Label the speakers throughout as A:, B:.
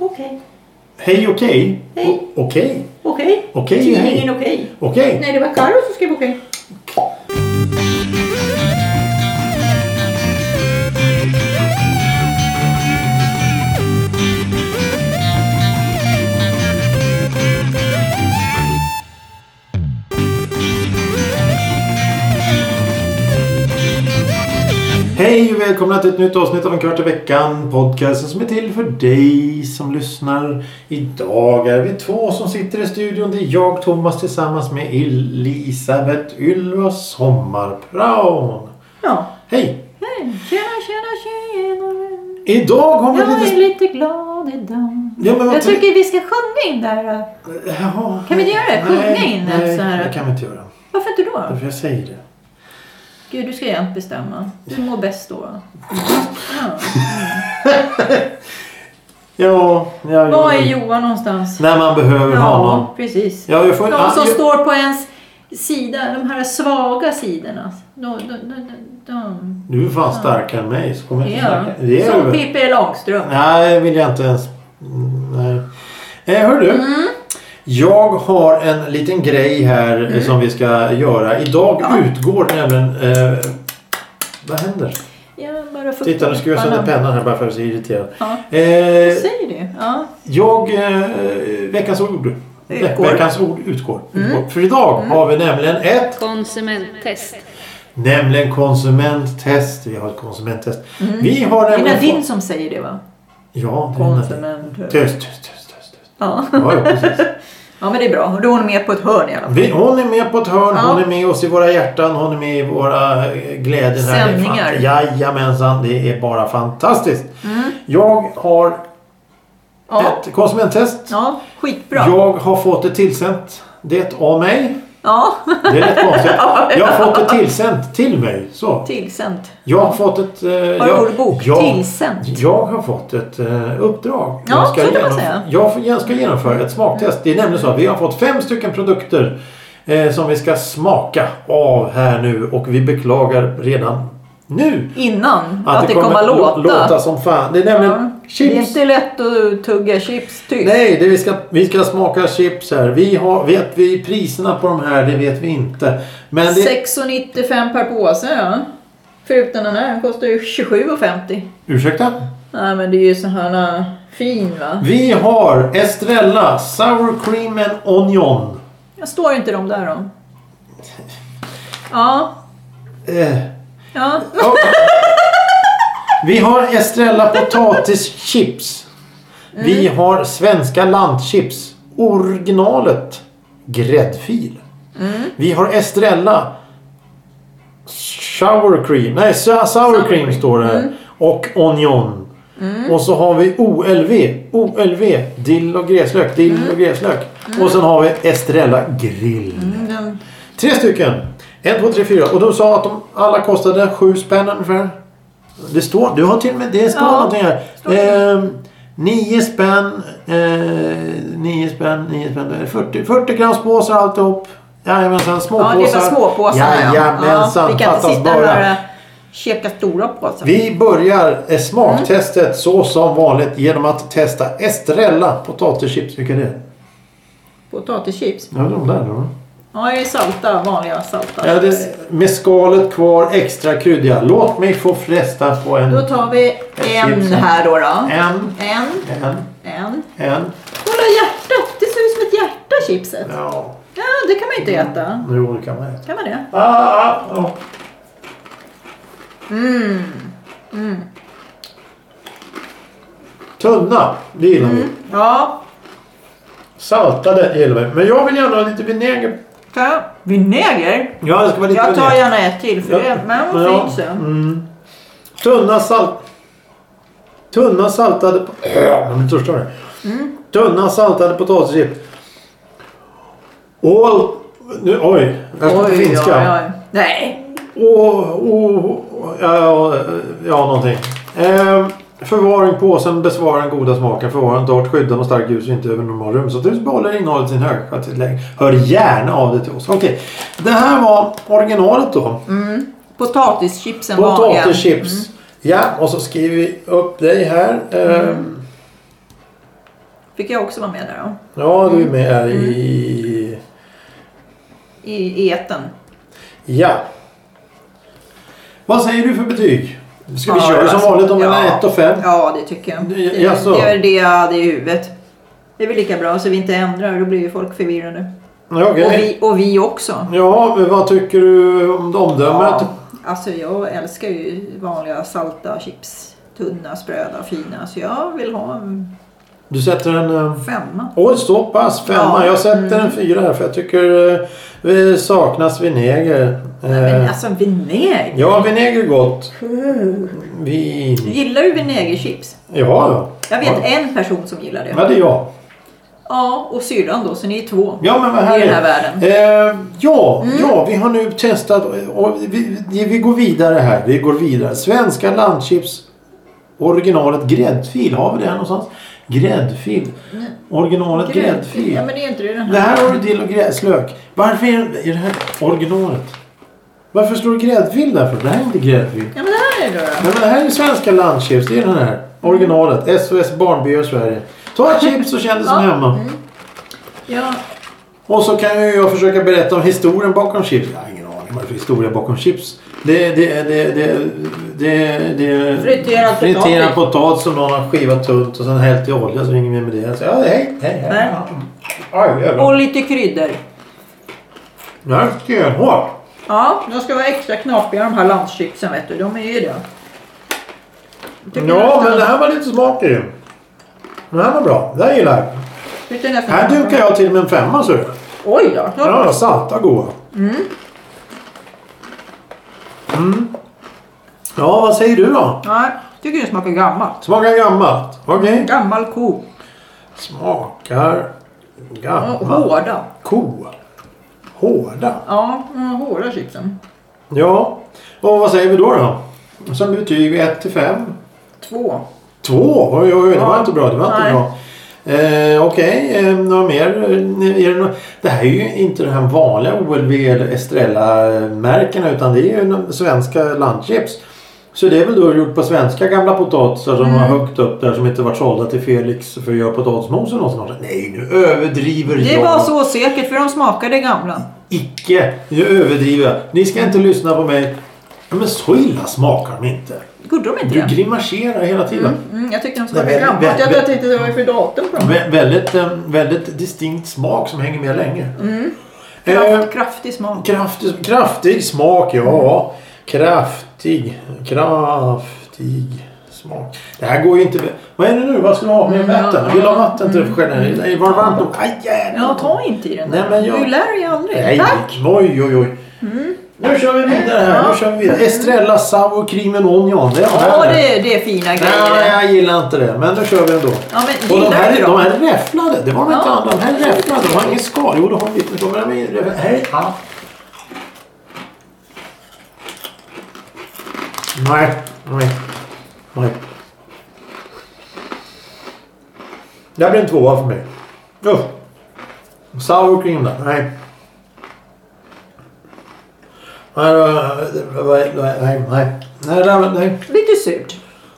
A: Okej.
B: Hej okej.
A: Hej.
B: O- Okej.
A: Okej.
B: Okej,
A: Tidningen
B: hej.
A: okej.
B: Okej.
A: Nej, det var Karo som skrev okej.
B: Hej och välkomna till ett nytt avsnitt av En kvart i veckan. Podcasten som är till för dig som lyssnar. Idag är vi två som sitter i studion. Det är jag, Thomas, tillsammans med Elisabeth Ylva Sommarpraon.
A: Ja.
B: Hej!
A: Hej. Tjena, tjena, tjena.
B: Idag har vi
A: Jag är
B: lite...
A: lite glad idag.
B: Ja, men vad
A: Jag
B: ty-
A: tycker vi ska sjunga in där. äh.
B: Ja,
A: Kan vi inte göra det? Sjunga
B: nej,
A: in
B: Nej,
A: så här.
B: det kan vi inte göra.
A: Varför inte då?
B: Därför jag säger det.
A: Gud, du ska jämt bestämma. Du mår bäst då. Ja.
B: Ja, jag
A: Var är Johan någonstans?
B: När man behöver honom.
A: Ja, precis.
B: Ja, jag får,
A: De som
B: ja,
A: står på ens sida, de här svaga sidorna. De, de, de, de, de.
B: Du är fan starkare än mig så kommer jag inte
A: Ja.
B: snacka. Det är
A: Som
B: du.
A: Pippi Långstrump.
B: Nej, vill jag inte ens. Mm, Nej. Eh, hör du.
A: Mm.
B: Jag har en liten grej här eh, som vi ska göra. Idag
A: Mm. Ja.
B: utgår nämligen... Eh, vad händer?
A: Jag bara får
B: Titta, nu ska jag sätta pennan här bara för att jag är irriterad.
A: Ja.
B: Eh,
A: Säger du? Ja.
B: jag... Eh, veckans ord.
A: Utgår. Mm.
B: Veckans ord utgår. utgår. För idag har vi nämligen ett...
C: Konsumenttest.
B: Nämligen konsumenttest. Vi har ett konsumenttest.
A: Mm.
B: Vi har
A: Det är Mm.
B: nämligen...
A: Nadine
B: fått-
A: som säger det va?
B: Ja, det är Nadine.
A: Konsument.
B: Test, test, test, test. test.
A: Ja.
B: Ja, ja, precis.
A: ja, men det är bra. Och Då är hon med på ett hörn i alla fall.
B: Vi, hon är med på ett hörn,
A: Ja.
B: hon är med oss i våra hjärtan, hon är med i våra eh, glädjen.
A: Sändningar. Mm.
B: Jajamensan, det är bara fantastiskt. Jag har
A: Ja,
B: ett konsumenttest.
A: ja skitbra.
B: Jag har fått det tillsänt. Det av mig.
A: Ja,
B: Det är rätt konstigt. Jag har fått det tillsänt till mig. Så.
A: tillsänt.
B: Jag har fått ett... eh,
A: Har du
B: jag-
A: ordbok?
B: jag-
A: Tillsänt.
B: Jag har fått ett eh, uppdrag.
A: Ja,
B: jag, ska
A: så kan man
B: genomf-
A: säga. Mm.
B: jag f- jag ska genomföra ett smaktest. Det är nämligen så att vi har fått fem stycken produkter eh, som vi ska smaka av här nu och vi beklagar redan nu
A: Innan. Att, det kommer låta.
B: lå- låta som fan. Det är nämligen
A: Ja. Det är
B: chips.
A: inte lätt att tugga chips tyst.
B: Nej, det vi, ska, vi ska smaka chips här. Vi har, vet vi priserna på de här? Det vet vi inte. Men det,
A: 6,95 per påse ja. Förutom den här, den kostar ju 27,50.
B: Ursäkta?
A: Nej men det är ju sån här äh, fin va.
B: Vi har Estrella Sour Cream and Onion.
A: Jag står inte de där då. Ja,
B: Eh.
A: ja.
B: Ja. Vi har Estrella potatischips. Vi har svenska lantchips. Originalet gräddfil. Vi har Estrella sour cream. Nej, sa- sour cream Mm. står det. här. Och onion. Och så har vi OLV. OLV. Dill och gräslök. Dill och gräslök. Och sen har vi Estrella grill.
A: Den,
B: Tre stycken. En, två, tre, fyra. Och de sa att de alla kostade sju spänn ungefär. Det står, du har till och med, det står
A: Ja,
B: någonting här.
A: står det.
B: Ehm, nio spänn, eh, nio spänn, nio spänn. eh, 40, 40 grams påsar alltihop. Jajamensan,
A: ja,
B: småpåsar.
A: det är de småpåsarna
B: Jajamensan,
A: Vi kan inte
B: fattas
A: sitta
B: bara.
A: här och käka stora påsar.
B: Vi börjar eh, smaktestet
A: Mm.
B: så som vanligt genom att testa Estrella potatischips. Vilka är det?
A: Potatischips.
B: Ja, de där. De.
A: Ja, det är salta, vanliga salta.
B: Ja, det, med skalet kvar, extra kryddiga. Låt mig få fresta på en...
A: Då tar vi en
B: Chipsen.
A: här då. då.
B: En,
A: En,
B: en,
A: en.
B: en.
A: Kolla hjärtat! Det ser ut som ett hjärta chipset.
B: Ja,
A: Ja, det kan man ju inte äta.
B: jo det kan man äta.
A: Kan man det?
B: Ah, ah, ah.
A: Mm.
B: Tunna, det gillar
A: Mm.
B: vi.
A: Ja.
B: Saltade gillar vi. Men jag vill gärna ha lite vinäger.
A: Ta. Vinäger?
B: Ja, det ska vara lite
A: Jag tar
B: vinäger.
A: gärna ett till för
B: Ja.
A: det men vad
B: Ja.
A: fint så.
B: Mm. Tunna salt... Tunna saltade... Äh, Jag blir törstig av det.
A: Mm.
B: Tunna saltade potatischips. All... Nu, oj, jag ska på finska.
A: oj, oj. Nej.
B: Åh, åh, ja, ja, ja, någonting. Ehm, förvaring, påsen, besvara den goda smaken. Förvaring, torrt, skydda mot starkt ljus och inte över normal rumstemperatur. Behåller innehållet i sin högkvalitetsläge. Hör gärna av dig till oss. Okej, det här var originalet då.
A: Potatischipsen vanliga. Mm.
B: Eh,
A: Mm.
B: Potatischips. Ja, och så skriver vi upp dig här. Ehm,
A: Fick jag också vara med där då.
B: Ja,
A: Mm.
B: du är med här i...
A: I eten.
B: Ja. Vad säger du för betyg? Ska vi
A: Ja,
B: köra som
A: alltså,
B: vanligt om mellan
A: ja.
B: 1 och 5?
A: Ja, det tycker jag.
B: Det-
A: Det,
B: jaså?
A: det är det jag hade i huvudet. Det är väl lika bra så vi inte ändrar, då blir ju folk förvirrade.
B: Ja, okej.
A: Och, vi, och vi också.
B: Ja, men vad tycker du om omdömet?
A: Ja, alltså jag älskar ju vanliga salta chips. Tunna, spröda, fina. Så jag vill ha en
B: Du sätter en... eh,
A: femma.
B: Oj, så pass. Femma.
A: Ja, Mm.
B: Jag sätter en fyra här för jag tycker eh, det saknas vinäger.
A: Nej, men
B: Eh,
A: alltså vinäger.
B: Ja, vinäger är gott. Vin...
A: Gillar du vinägerchips?
B: Ja,
A: Jag vet
B: Ja,
A: en person som gillar det.
B: Ja, det är jag.
A: Ja, och syrran då, så ni är två.
B: Ja, men vad
A: I
B: härligt.
A: den här världen.
B: Eh, ja,
A: Mm.
B: ja, vi har nu testat och vi, vi vi går vidare här. Vi går vidare. Svenska landchips originalet gräddfil. Har vi det här någonstans? Gräddfil. Originalet gräddfil.
A: Mm. Ja, men det är inte det den
B: Det
A: här.
B: här har du dill och gräslök. Varför är, är det här originalet? Varför står det gräddfil där för? Det här är inte gräddfil.
A: Ja, men det här är det då.
B: Nej, men det här är svenska landchips. Det är den här. Originalet. SOS Barnbyar Sverige. Ta ett chips och känn dig som
A: Ja. Mm.
B: hemma.
A: Ja,
B: Och så kan ju jag försöka berätta om historien bakom chips. Jag har ingen aning vad det är för historia bakom chips. Det är det, det, det, det, det,
A: Friterad potatis.
B: friterad potatis som någon har skivat tunt och sen hällt i olja så ringer vi med det. Så, ja, hej, hej, hej.
A: Nej.
B: Aj, jävlar.
A: och lite kryddor.
B: Det här är stenhårt.
A: Ja, de ska vara extra knapriga de här landschipsen vet du. De är ju det. Tycker
B: Ja,
A: nästan-
B: men det här var lite smak i. Det här var bra. Det här gillar jag.
A: tycker nästan-
B: Här dukar jag till med en femma så du.
A: Oj då.
B: Ja, salta goa. Mm. Mm. Ja, vad säger du då?
A: Nej, tycker det smakar gammalt.
B: Smakar gammalt. Okej.
A: Gammal ko.
B: Smakar
A: Ja,
B: gammal
A: Hårda.
B: ko. Hårda.
A: Ja, mm, hårda chipsen.
B: Ja, och vad säger vi då då? Som betyg 1 till 5.
A: Två.
B: 2? Oj, oj, oj, det var
A: Ja.
B: inte bra. Det var inte
A: Nej.
B: bra. Eh, Okej, eh, några mer? Eh, Är det, nå- det här är ju inte de här vanliga OLV eller Estrella-märkena utan det är ju de svenska landchips. Så det är väl då gjort på svenska gamla potatisar som
A: Mm.
B: har högt upp där som inte varit sålda till Felix för att göra potatismos eller något sånt. Nej, nu överdriver
A: Det
B: jag.
A: var så säkert för de smakade gamla.
B: Icke! Nu överdriver jag. Ni ska inte lyssna på mig. Ja, men så illa smakar de inte.
A: Gjorde de inte
B: Du
A: det?
B: grimaserar hela tiden.
A: Mm, jag tyckte de
B: Nej,
A: smakade
B: men-
A: gammalt.
B: men-
A: Jag tänkte det var ju för datum på dem.
B: Vä- väldigt, eh, väldigt distinkt smak som hänger med länge. Eh,
A: Mm. Kraft, kraftig smak.
B: kraftig, kraftig smak, ja. Kraftig. Kraftig smak. Det här går ju inte... Vad är det nu? Vad ska du ha med
A: Mm,
B: vatten?
A: ja.
B: Vill du ha vatten till skärningen? Nej, Var det varmt nog? Aj, jävlar.
A: Ja, ta inte i den
B: Nej,
A: där.
B: men jag-
A: Du lär dig aldrig.
B: Nej,
A: Tack! Mm.
B: oj, oj, oj. Nu kör vi vidare här. Nu kör vi vidare. Estrella Sour Cream and Onion. Det är
A: Ja, det, det är fina
B: Nej,
A: grejer.
B: jag gillar inte det. Men nu kör vi ändå.
A: Ja, men
B: Och de
A: gillar
B: här,
A: du
B: de
A: dem?
B: här är räfflade. Det var de
A: Ja.
B: inte andra. De här är räfflade. De har ingen skal. Jo, de har lite. De är med. i- Här är allt. Nej, nej, nej. Det här blir en tvåa för mig. Usch. Sour cream där. Nej. Nej, det var- det var- det var- nej, nej. Nej, det där var- nej.
A: Lite surt.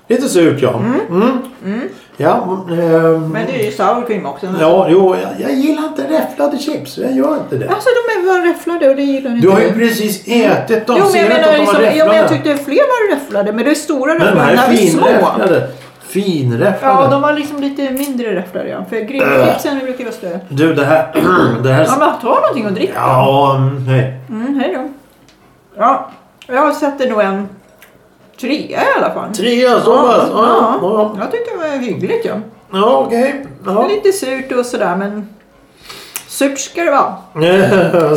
B: Lite surt ja. Mm. Ja, ehm,
A: Men det är ju sour cream också.
B: ja jo, jag, jag gillar inte räfflade chips. Jag gör inte det.
A: Alltså de är väl räfflade och det gillar ni
B: Du har ju
A: inte.
B: precis ätit dem.
A: Jo, men
B: Ser
A: jag
B: du inte
A: menar
B: att de var
A: liksom, ja, men jag
B: räfflade?
A: tyckte fler var räfflade. Men det är stora
B: Men de
A: räfflade.
B: här
A: när
B: är
A: vi är små.
B: finräfflade. Finräfflade.
A: Ja, de var liksom lite mindre räfflade ja. För grillchipsen brukar ju vara större.
B: Du, det här... det
A: Ja,
B: här...
A: men ta någonting att dricka.
B: Ja, mm, nej.
A: Mm, hej då. Ja, jag sätter nog en trea i alla fall.
B: Trea, så pass. Ja,
A: ja.
B: ja.
A: Jag tyckte det var hyggligt ja.
B: Ja, okej. Ja.
A: Lite surt och sådär men surt ska det vara.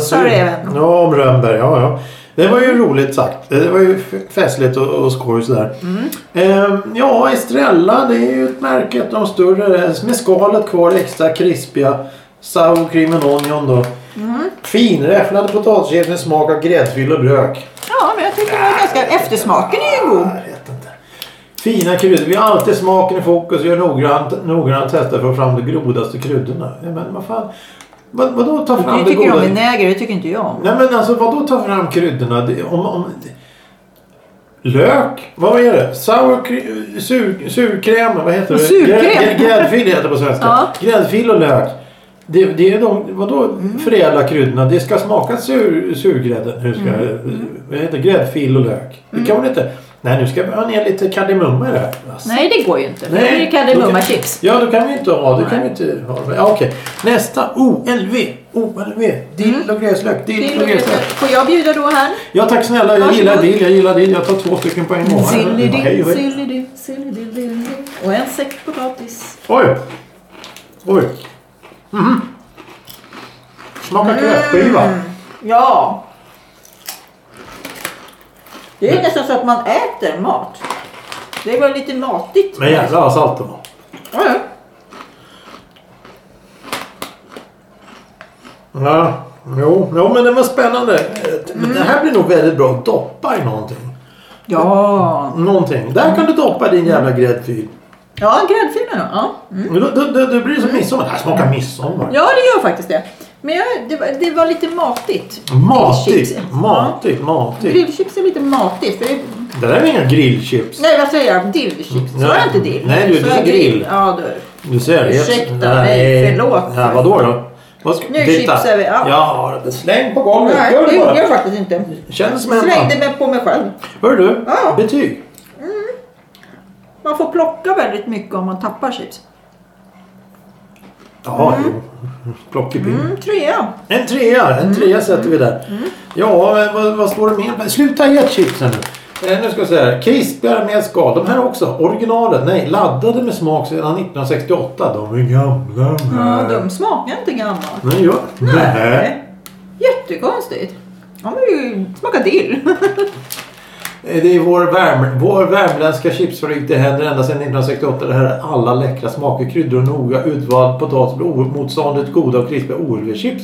B: Så
A: Sorry, även.
B: Mm. Ja, om Rönnberg. Ja, ja. Det var ju roligt sagt. Det var ju f- festligt och, och skoj och sådär.
A: Mm.
B: Ehm, ja, Estrella det är ju ett märke. De större med skalet kvar extra krispiga. Sour cream and onion då.
A: Mm.
B: Finräfflade potatischips med smak av gräddfil och brök.
A: Ja men jag tycker det var ganska... Eftersmaken är ju god.
B: Jag vet inte. Fina kryddor. Vi har alltid smaken i fokus och gör noggrant, noggrant tester för att få fram de godaste kryddorna. Ja, men vad fan. Vad, vadå ta fram
A: Du
B: det
A: tycker om
B: goda?
A: vinäger, det tycker inte jag om.
B: Nej men alltså vadå ta fram kryddorna? Det, om, om, det, Lök? Vad är det? Sour cre- sur, surkräm? Vad heter det?
A: Surkräm?
B: Grä- grä- Gräddfil heter det på svenska.
A: Ja.
B: Gräddfil och lök. Det, det är de, vadå
A: Mm.
B: förädla kryddorna? Det ska smaka sur, surgrädden. Nu ska,
A: Mm.
B: Vad heter det? Gräddfil och lök. Det kan man inte... Nej, nu ska vi ha ner lite kardemumma i det här. Alltså.
A: Nej, det går ju inte. För
B: Nej,
A: då blir det
B: då kan-
A: kardemummachips.
B: Ja, då kan vi inte ha. Det kan vi
A: Nej.
B: inte ha. Ja, okej. Nästa. OLV. OLV. Dill
A: Mm.
B: och gräslök. Dill och gräslök.
A: Får jag bjuda då här?
B: Ja, tack snälla. Jag
A: Varsågod.
B: gillar dill. Jag gillar dill. Jag tar två stycken på en gång. här. Hej,
A: Sillidill,
B: hej.
A: sillidill, sillidill, sillidill. Och en säck potatis.
B: Oj! Oj! Mm. Smakar
A: Mm.
B: kräftskiva.
A: Ja. Det är nästan så att man äter mat. Det var lite matigt.
B: Men jävlar vad salt det var.
A: Ja, ja.
B: Ja, jo, jo, men det var spännande. Eh,
A: Mm.
B: men Det här blir nog väldigt bra att doppa i någonting.
A: Ja,
B: Någonting. Där kan du doppa din jävla gräddfil.
A: ja gräddfilen då. Ja. Mm.
B: Mm. Då, då, då, då blir det som midsommar. Det här smakar midsommar.
A: ja, det gör faktiskt det. Men jag, det, var, det var lite matigt.
B: Matigt,
A: Grillchips.
B: matigt, matigt.
A: Grillchips är lite matigt. För det,
B: Det där är inga grillchips.
A: nej, vad säger jag? Dillchips. Sa jag inte dill?
B: Mm. Nej, du,
A: Sa
B: det är
A: jag
B: grill.
A: Ja, du.
B: Du ser. det.
A: Ursäkta mig, förlåt.
B: Ja, vadå då? Vad ska,
A: Nu chipsar vi, ja.
B: Ja, släng på golvet.
A: Nej,
B: Gör
A: det
B: det
A: gjorde
B: bara.
A: jag faktiskt inte.
B: Känns som
A: Slängde
B: en...
A: mig på mig själv.
B: Hör du?
A: Ja.
B: Betyg.
A: Man får plocka väldigt mycket om man tappar chips.
B: Ja, mm. Plockepinn.
A: Mm, trea.
B: En trea. En trea sätter vi där. Ja, men vad, vad står det mer? på- Sluta ge chipsen nu. Eh, Nu ska jag säga här. Krispigare med skal. De här också. Originalen. Nej, laddade med smak sedan 1968. De är gamla. de
A: Ja,
B: här.
A: de smakar inte gammal.
B: Nej, ja. Nej.
A: Jättekonstigt. Ja, men ju smaka dill.
B: Eh, Det är vår, värm, vår värmländska chipsfabrik. Det händer ända sedan 1968. Det här är alla läckra smaker, kryddor och noga utvald potatis blir oemotståndligt goda och krispiga OLV-chips.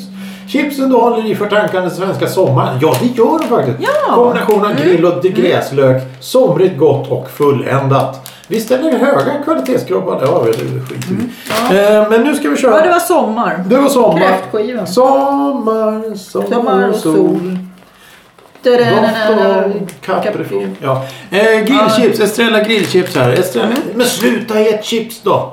B: Chipsen du håller i för tankarna den svenska sommaren. Ja, det gör de faktiskt.
A: Ja. Mm.
B: Kombination av grill och gräslök. Somrigt, gott och fulländat. Vi ställer höga kvalitetskrav på alla. Ja, det skiter vi i. Eh, Men nu ska vi köra.
A: Mm, Ja, det var sommar.
B: det var sommar.
A: Kräftskivan.
B: Sommar, sommar,
A: Sommar och
B: sol.
A: sol. Da-da-da-da-da.
B: Capricorn. Ja. Eh, grillchips. Estrella grillchips här. Estrella. Men sluta ge ett chips då.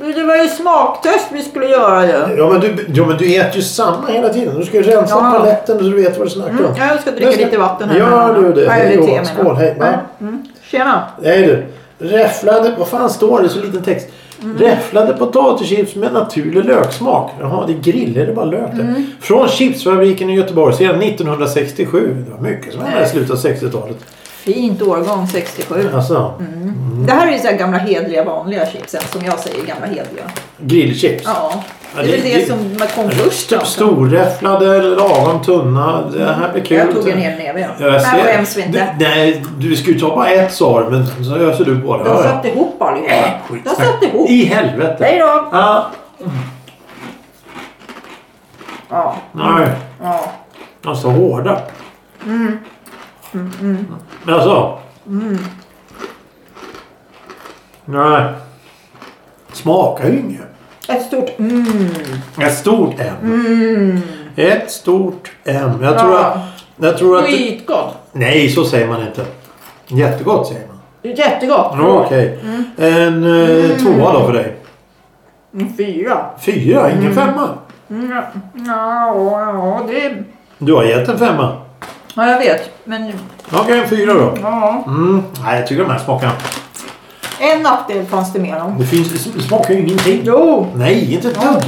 A: Men Det var ju smaktest vi skulle göra ju.
B: Ja men, du, ja men du äter ju samma hela tiden. Du ska ju rensa
A: Ja.
B: paletten så du vet vad du snackar om.
A: Mm, ja, jag ska dricka
B: Nu
A: lite vatten här.
B: Gör du det.
A: Nej,
B: Hej
A: eller te
B: då.
A: menar jag.
B: Skål. Hej. Ja.
A: Nej, Mm. Tjena.
B: Nej du. Räfflade, vad fan står det? Så liten text.
A: Mm.
B: Räfflade potatischips med naturlig löksmak. Jaha, det är grill, är det bara lök där?
A: Mm.
B: Från chipsfabriken i Göteborg sedan 1967. Det var mycket som hände i
A: Nej.
B: slutet av 60-talet.
A: Fint årgång 67.
B: Alltså,
A: Mm. Det här är ju så här gamla hedliga vanliga chipsen som jag säger gamla hedliga.
B: grillchips.
A: Ja.
B: Ja,
A: Det är
B: det-
A: väl
B: det-
A: det som man kom först.
B: Typ storräfflade, lagom tunna. Det här blir kul.
A: Jag tog en hel näve.
B: Ja, jag
A: Där
B: ser.
A: skäms vi inte.
B: Du, nej, du skulle ju ta bara ett sa du, men så öser du på det.
A: De satt ihop allihopa.
B: Äh, skitsnack.
A: De satt ihop.
B: I helvete.
A: Hej då.
B: Ja,
A: Ja.
B: nej.
A: ja.
B: Alltså hårda.
A: Mm.
B: Men alltså. Nej. Smakar ju inget.
A: Ett stort mm.
B: Ett stort M. Ett stort M. Jag tror,
A: Ja.
B: att, jag tror att...
A: Skitgott.
B: Nej, så säger man inte. Jättegott säger man.
A: Det Mm. är jättegott.
B: Ja, Okej. En eh, tvåa då för dig.
A: En Mm, Fyra.
B: Fyra, ingen femma.
A: Mm, Ja, ja, ja, det är...
B: Du har gett en femma.
A: Ja, jag vet. Men
B: Okej, en fyra då.
A: ja.
B: Mm. Nej, jag tycker de här smakar...
A: En nackdel fanns det med dem.
B: Det, finns, det smakar ju ingenting.
A: Jo,
B: Nej, inte ett dugg.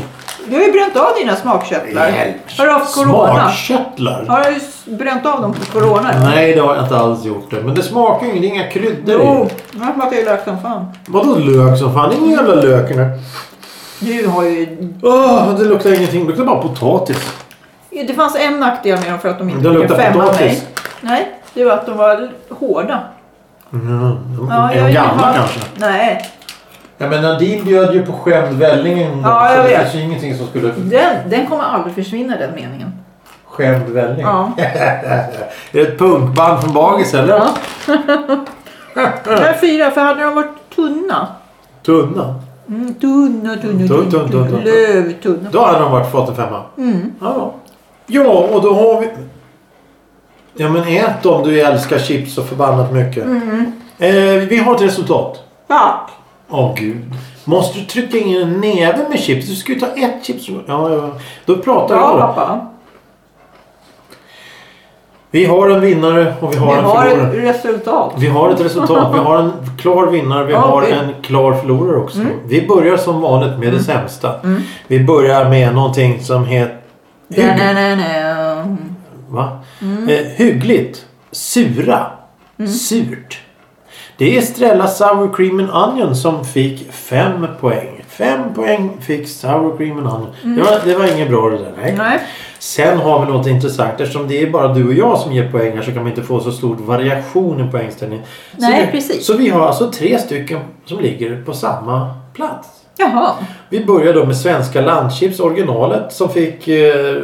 A: du har ju bränt av dina smakkörtlar.
B: Hjälp.
A: Har du haft corona?
B: Smakkörtlar?
A: Har du s- bränt av dem på corona?
B: Nej, det har jag inte alls gjort. Det. Men det smakar ju ingenting. Inga kryddor i.
A: Jo, jag smakar ju lök som fan.
B: Vadå lök som fan? Ingen jävla lök i den här.
A: Du har ju...
B: Åh, det luktar ingenting. Det luktar bara potatis.
A: Det fanns en nackdel med dem för att de inte
B: Det
A: fick en
B: luktar
A: femma av mig.
B: potatis.
A: Nej, det var att de var hårda.
B: Mm.
A: Ja,
B: är
A: jag-
B: de gamla
A: jag-
B: kanske?
A: Nej,
B: Jag menar, din bjöd ju på skämd välling en gång,
A: Ja,
B: så
A: jag
B: det
A: vet.
B: finns ju ingenting som skulle...
A: den, den kommer aldrig försvinna den meningen.
B: Skämd välling?
A: Ja.
B: är det ett punkband från Bagis eller?
A: Ja. Nej, fyra, för hade de varit tunna.
B: Tunna?
A: Mm, tunna, tunna,
B: Tunn, tunn, tunn, tunn.
A: Lövtunna.
B: Då hade de varit fått en femma.
A: Mm.
B: Ja. ja, och då har vi... Ja men ät om du älskar chips så förbannat mycket.
A: Mm-hmm.
B: Eh, vi har ett resultat.
A: Ja,
B: Åh gud. Måste du trycka in en näve med chips? Du ska ju ta ett chips. Ja, ja. Då pratar
A: bra
B: jag. då.
A: pappa.
B: Vi har en vinnare och vi har
A: Vi
B: en
A: har
B: förlorare.
A: ett resultat.
B: Vi har ett resultat. Vi har en klar vinnare. Vi
A: Ja,
B: har
A: vi- Mm.
B: en klar förlorare också. Vi börjar som vanligt med det sämsta. Vi börjar med någonting som heter...
A: Da, da, da, da.
B: Va?
A: Mm.
B: Eh, hyggligt. Sura. Surt. Det är Estrella Sour Cream and Onion som fick fem poäng. Fem poäng fick Sour Cream and Onion. Det, var, det var inget bra det där. Nej.
A: Mm. Nej.
B: Sen har vi något intressant. Eftersom det är bara du och jag som ger poäng här så kan man inte få så stor variation i poängställningen. Så
A: Nej,
B: vi,
A: precis.
B: Så vi har alltså tre stycken som ligger på samma plats.
A: Jaha.
B: Vi börjar då med svenska landchips, originalet, som fick eh,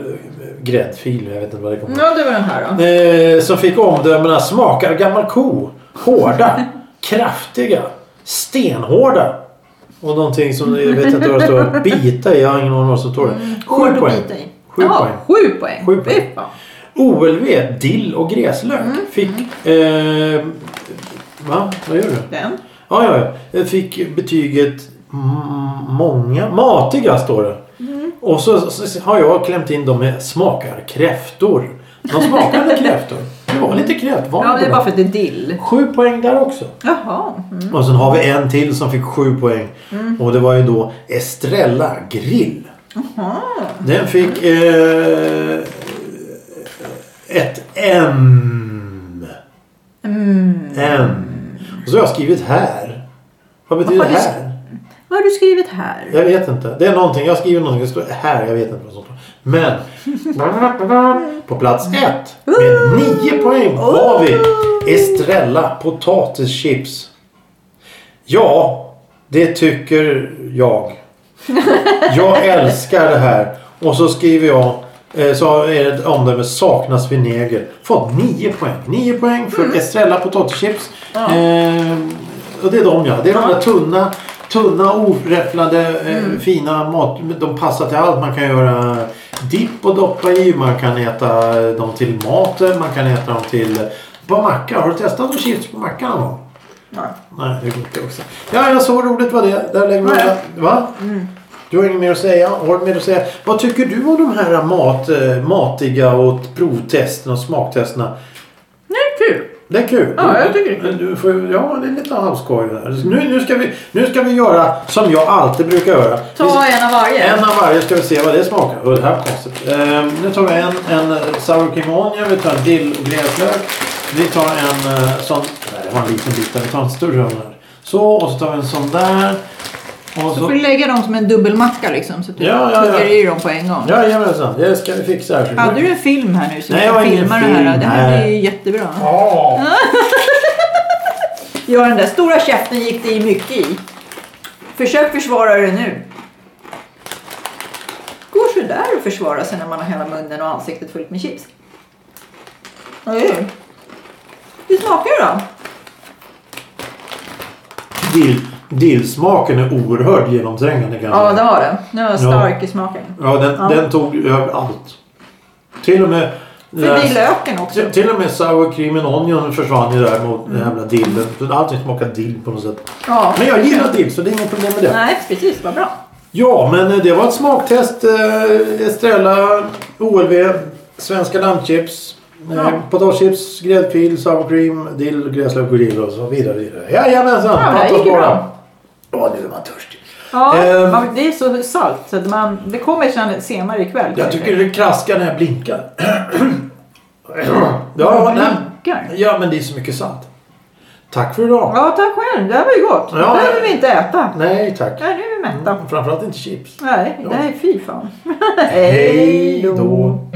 B: gräddfil. Jag vet inte vad det kommer
A: Ja, det var den här då.
B: Eh, som fick omdömena smakar gammal ko. Hårda, kraftiga, stenhårda. Och någonting som jag vet inte vad det står. Bita i. Jag har ingen aning vad som står där.
A: Mm. Hård
B: Sju
A: att
B: poäng.
A: bita i.
B: Sju
A: Jaha,
B: poäng.
A: Sju poäng.
B: Sju poäng.
A: Fy fan.
B: OLV, dill och gräslök.
A: Mm,
B: Fick... Eh, va? Vad gör du?
A: Den.
B: Ja, ja, ja. Jag Fick betyget m- många. Matiga står det.
A: Mm.
B: Och så, så, så har jag klämt in dem med smakar kräftor. De smakade kräftor. Det var lite kräftvanor
A: Ja,
B: på
A: det är
B: den.
A: bara för att det är dill.
B: Sju poäng där också.
A: Jaha. Mm.
B: Och sen har vi en till som fick sju poäng. Och det var ju då Estrella Grill. Den fick eh, ett M. M. Och så har jag skrivit här. Vad betyder
A: Vad har du
B: här?
A: Vad har du skrivit här?
B: Jag vet inte. Det är någonting. Jag skriver någonting. Det står här. Jag vet inte vad som står. Men. på plats ett. Med nio poäng har vi Estrella potatischips. Ja. Det tycker jag. Jag älskar det här. Och så skriver jag. eh, Så är det ett omdöme. Saknas vinäger. Fått nio poäng. Nio poäng för Estrella potatischips. Eh, och det är de ja. Det är de där tunna, tunna oräfflade, eh, fina mat. De passar till allt. Man kan göra dipp och doppa i. Man kan äta dem till maten. Man kan äta dem till på macka. Har du testat att chips på macka någon gång?
A: Ja.
B: Nej, det går inte också. Ja, jag såg roligt var det. Där lägger vi
A: Nej. Mm.
B: alla- Va? Du har inget mer att säga? Har du mer att säga? Vad tycker du om de här mat, eh, matiga och provtesterna och smaktesterna?
A: Nej, kul.
B: Det är kul.
A: Ja, jag tycker det
B: är kul. Du får, ja, det är lite halvskoj. det här. Nu, nu, ska vi, nu ska vi göra som jag alltid brukar göra. Vi
A: Ta
B: ska-
A: en av varje.
B: en av varje ska vi se vad det smakar. Och det här var konstigt. Ehm, nu tar vi en, en eh, sour cream onion, vi tar en dill och gräslök. Vi tar en eh, sån... Nej, det var en liten bit där. Vi tar en större av den här. Så, och så tar vi en sån där. Och
A: Du får
B: så...
A: du lägga dem som en dubbelmacka liksom så att du
B: Ja, ja, ja.
A: tuggar i dem på en gång.
B: Jajamensan, det ska vi fixa här.
A: Hade du en film här nu så
B: Nej,
A: vi
B: jag har
A: kan
B: ingen
A: filma det
B: film
A: här? Det här
B: här.
A: blir ju jättebra.
B: Ja.
A: Ja, den där stora käften gick det i mycket i. Försök försvara det nu. Går sådär att försvara sig när man har hela munnen och ansiktet fullt med chips? Oj. Hur smakar det då?
B: Dill, dillsmaken är oerhört genomträngande kan jag
A: Ja,
B: säga.
A: det har den. Den var stark i smaken.
B: Ja, den,
A: Ja.
B: den tog över allt. Till och med...
A: Förbi löken också.
B: till, till och med sour cream and onion försvann ju där mot den jävla dillen. Så Allting smakar dill på något sätt.
A: Ja.
B: Men jag gillar dill så det är inga problem med det.
A: Nej, precis. Vad bra.
B: Ja, men eh, det var ett smaktest. eh, Estrella, OLV, svenska lammchips,
A: Ja.
B: ja. potatischips, gräddfil, sour cream, dill, gräslök och dill och så vidare. vidare. Jajamensan!
A: Ja, det
B: Fatta
A: gick ju
B: bara.
A: bra.
B: Ja, nu är man törstig.
A: Ja,
B: Ehm.
A: man, det är så salt så att man, det kommer sen, senare ikväll.
B: Jag tycker det kraskar när jag blinkar. ja,
A: Ja,
B: nej.
A: blinkar.
B: ja, men det är så mycket salt. Tack för idag.
A: Ja, tack själv. Det här var ju gott.
B: Ja,
A: det här
B: ja.
A: vill vi inte äta.
B: Nej, tack. Mm,
A: Nej, nu är vi mätta.
B: Framförallt inte chips.
A: Nej,
B: Ja.
A: det här är fy fan.
B: Hej då.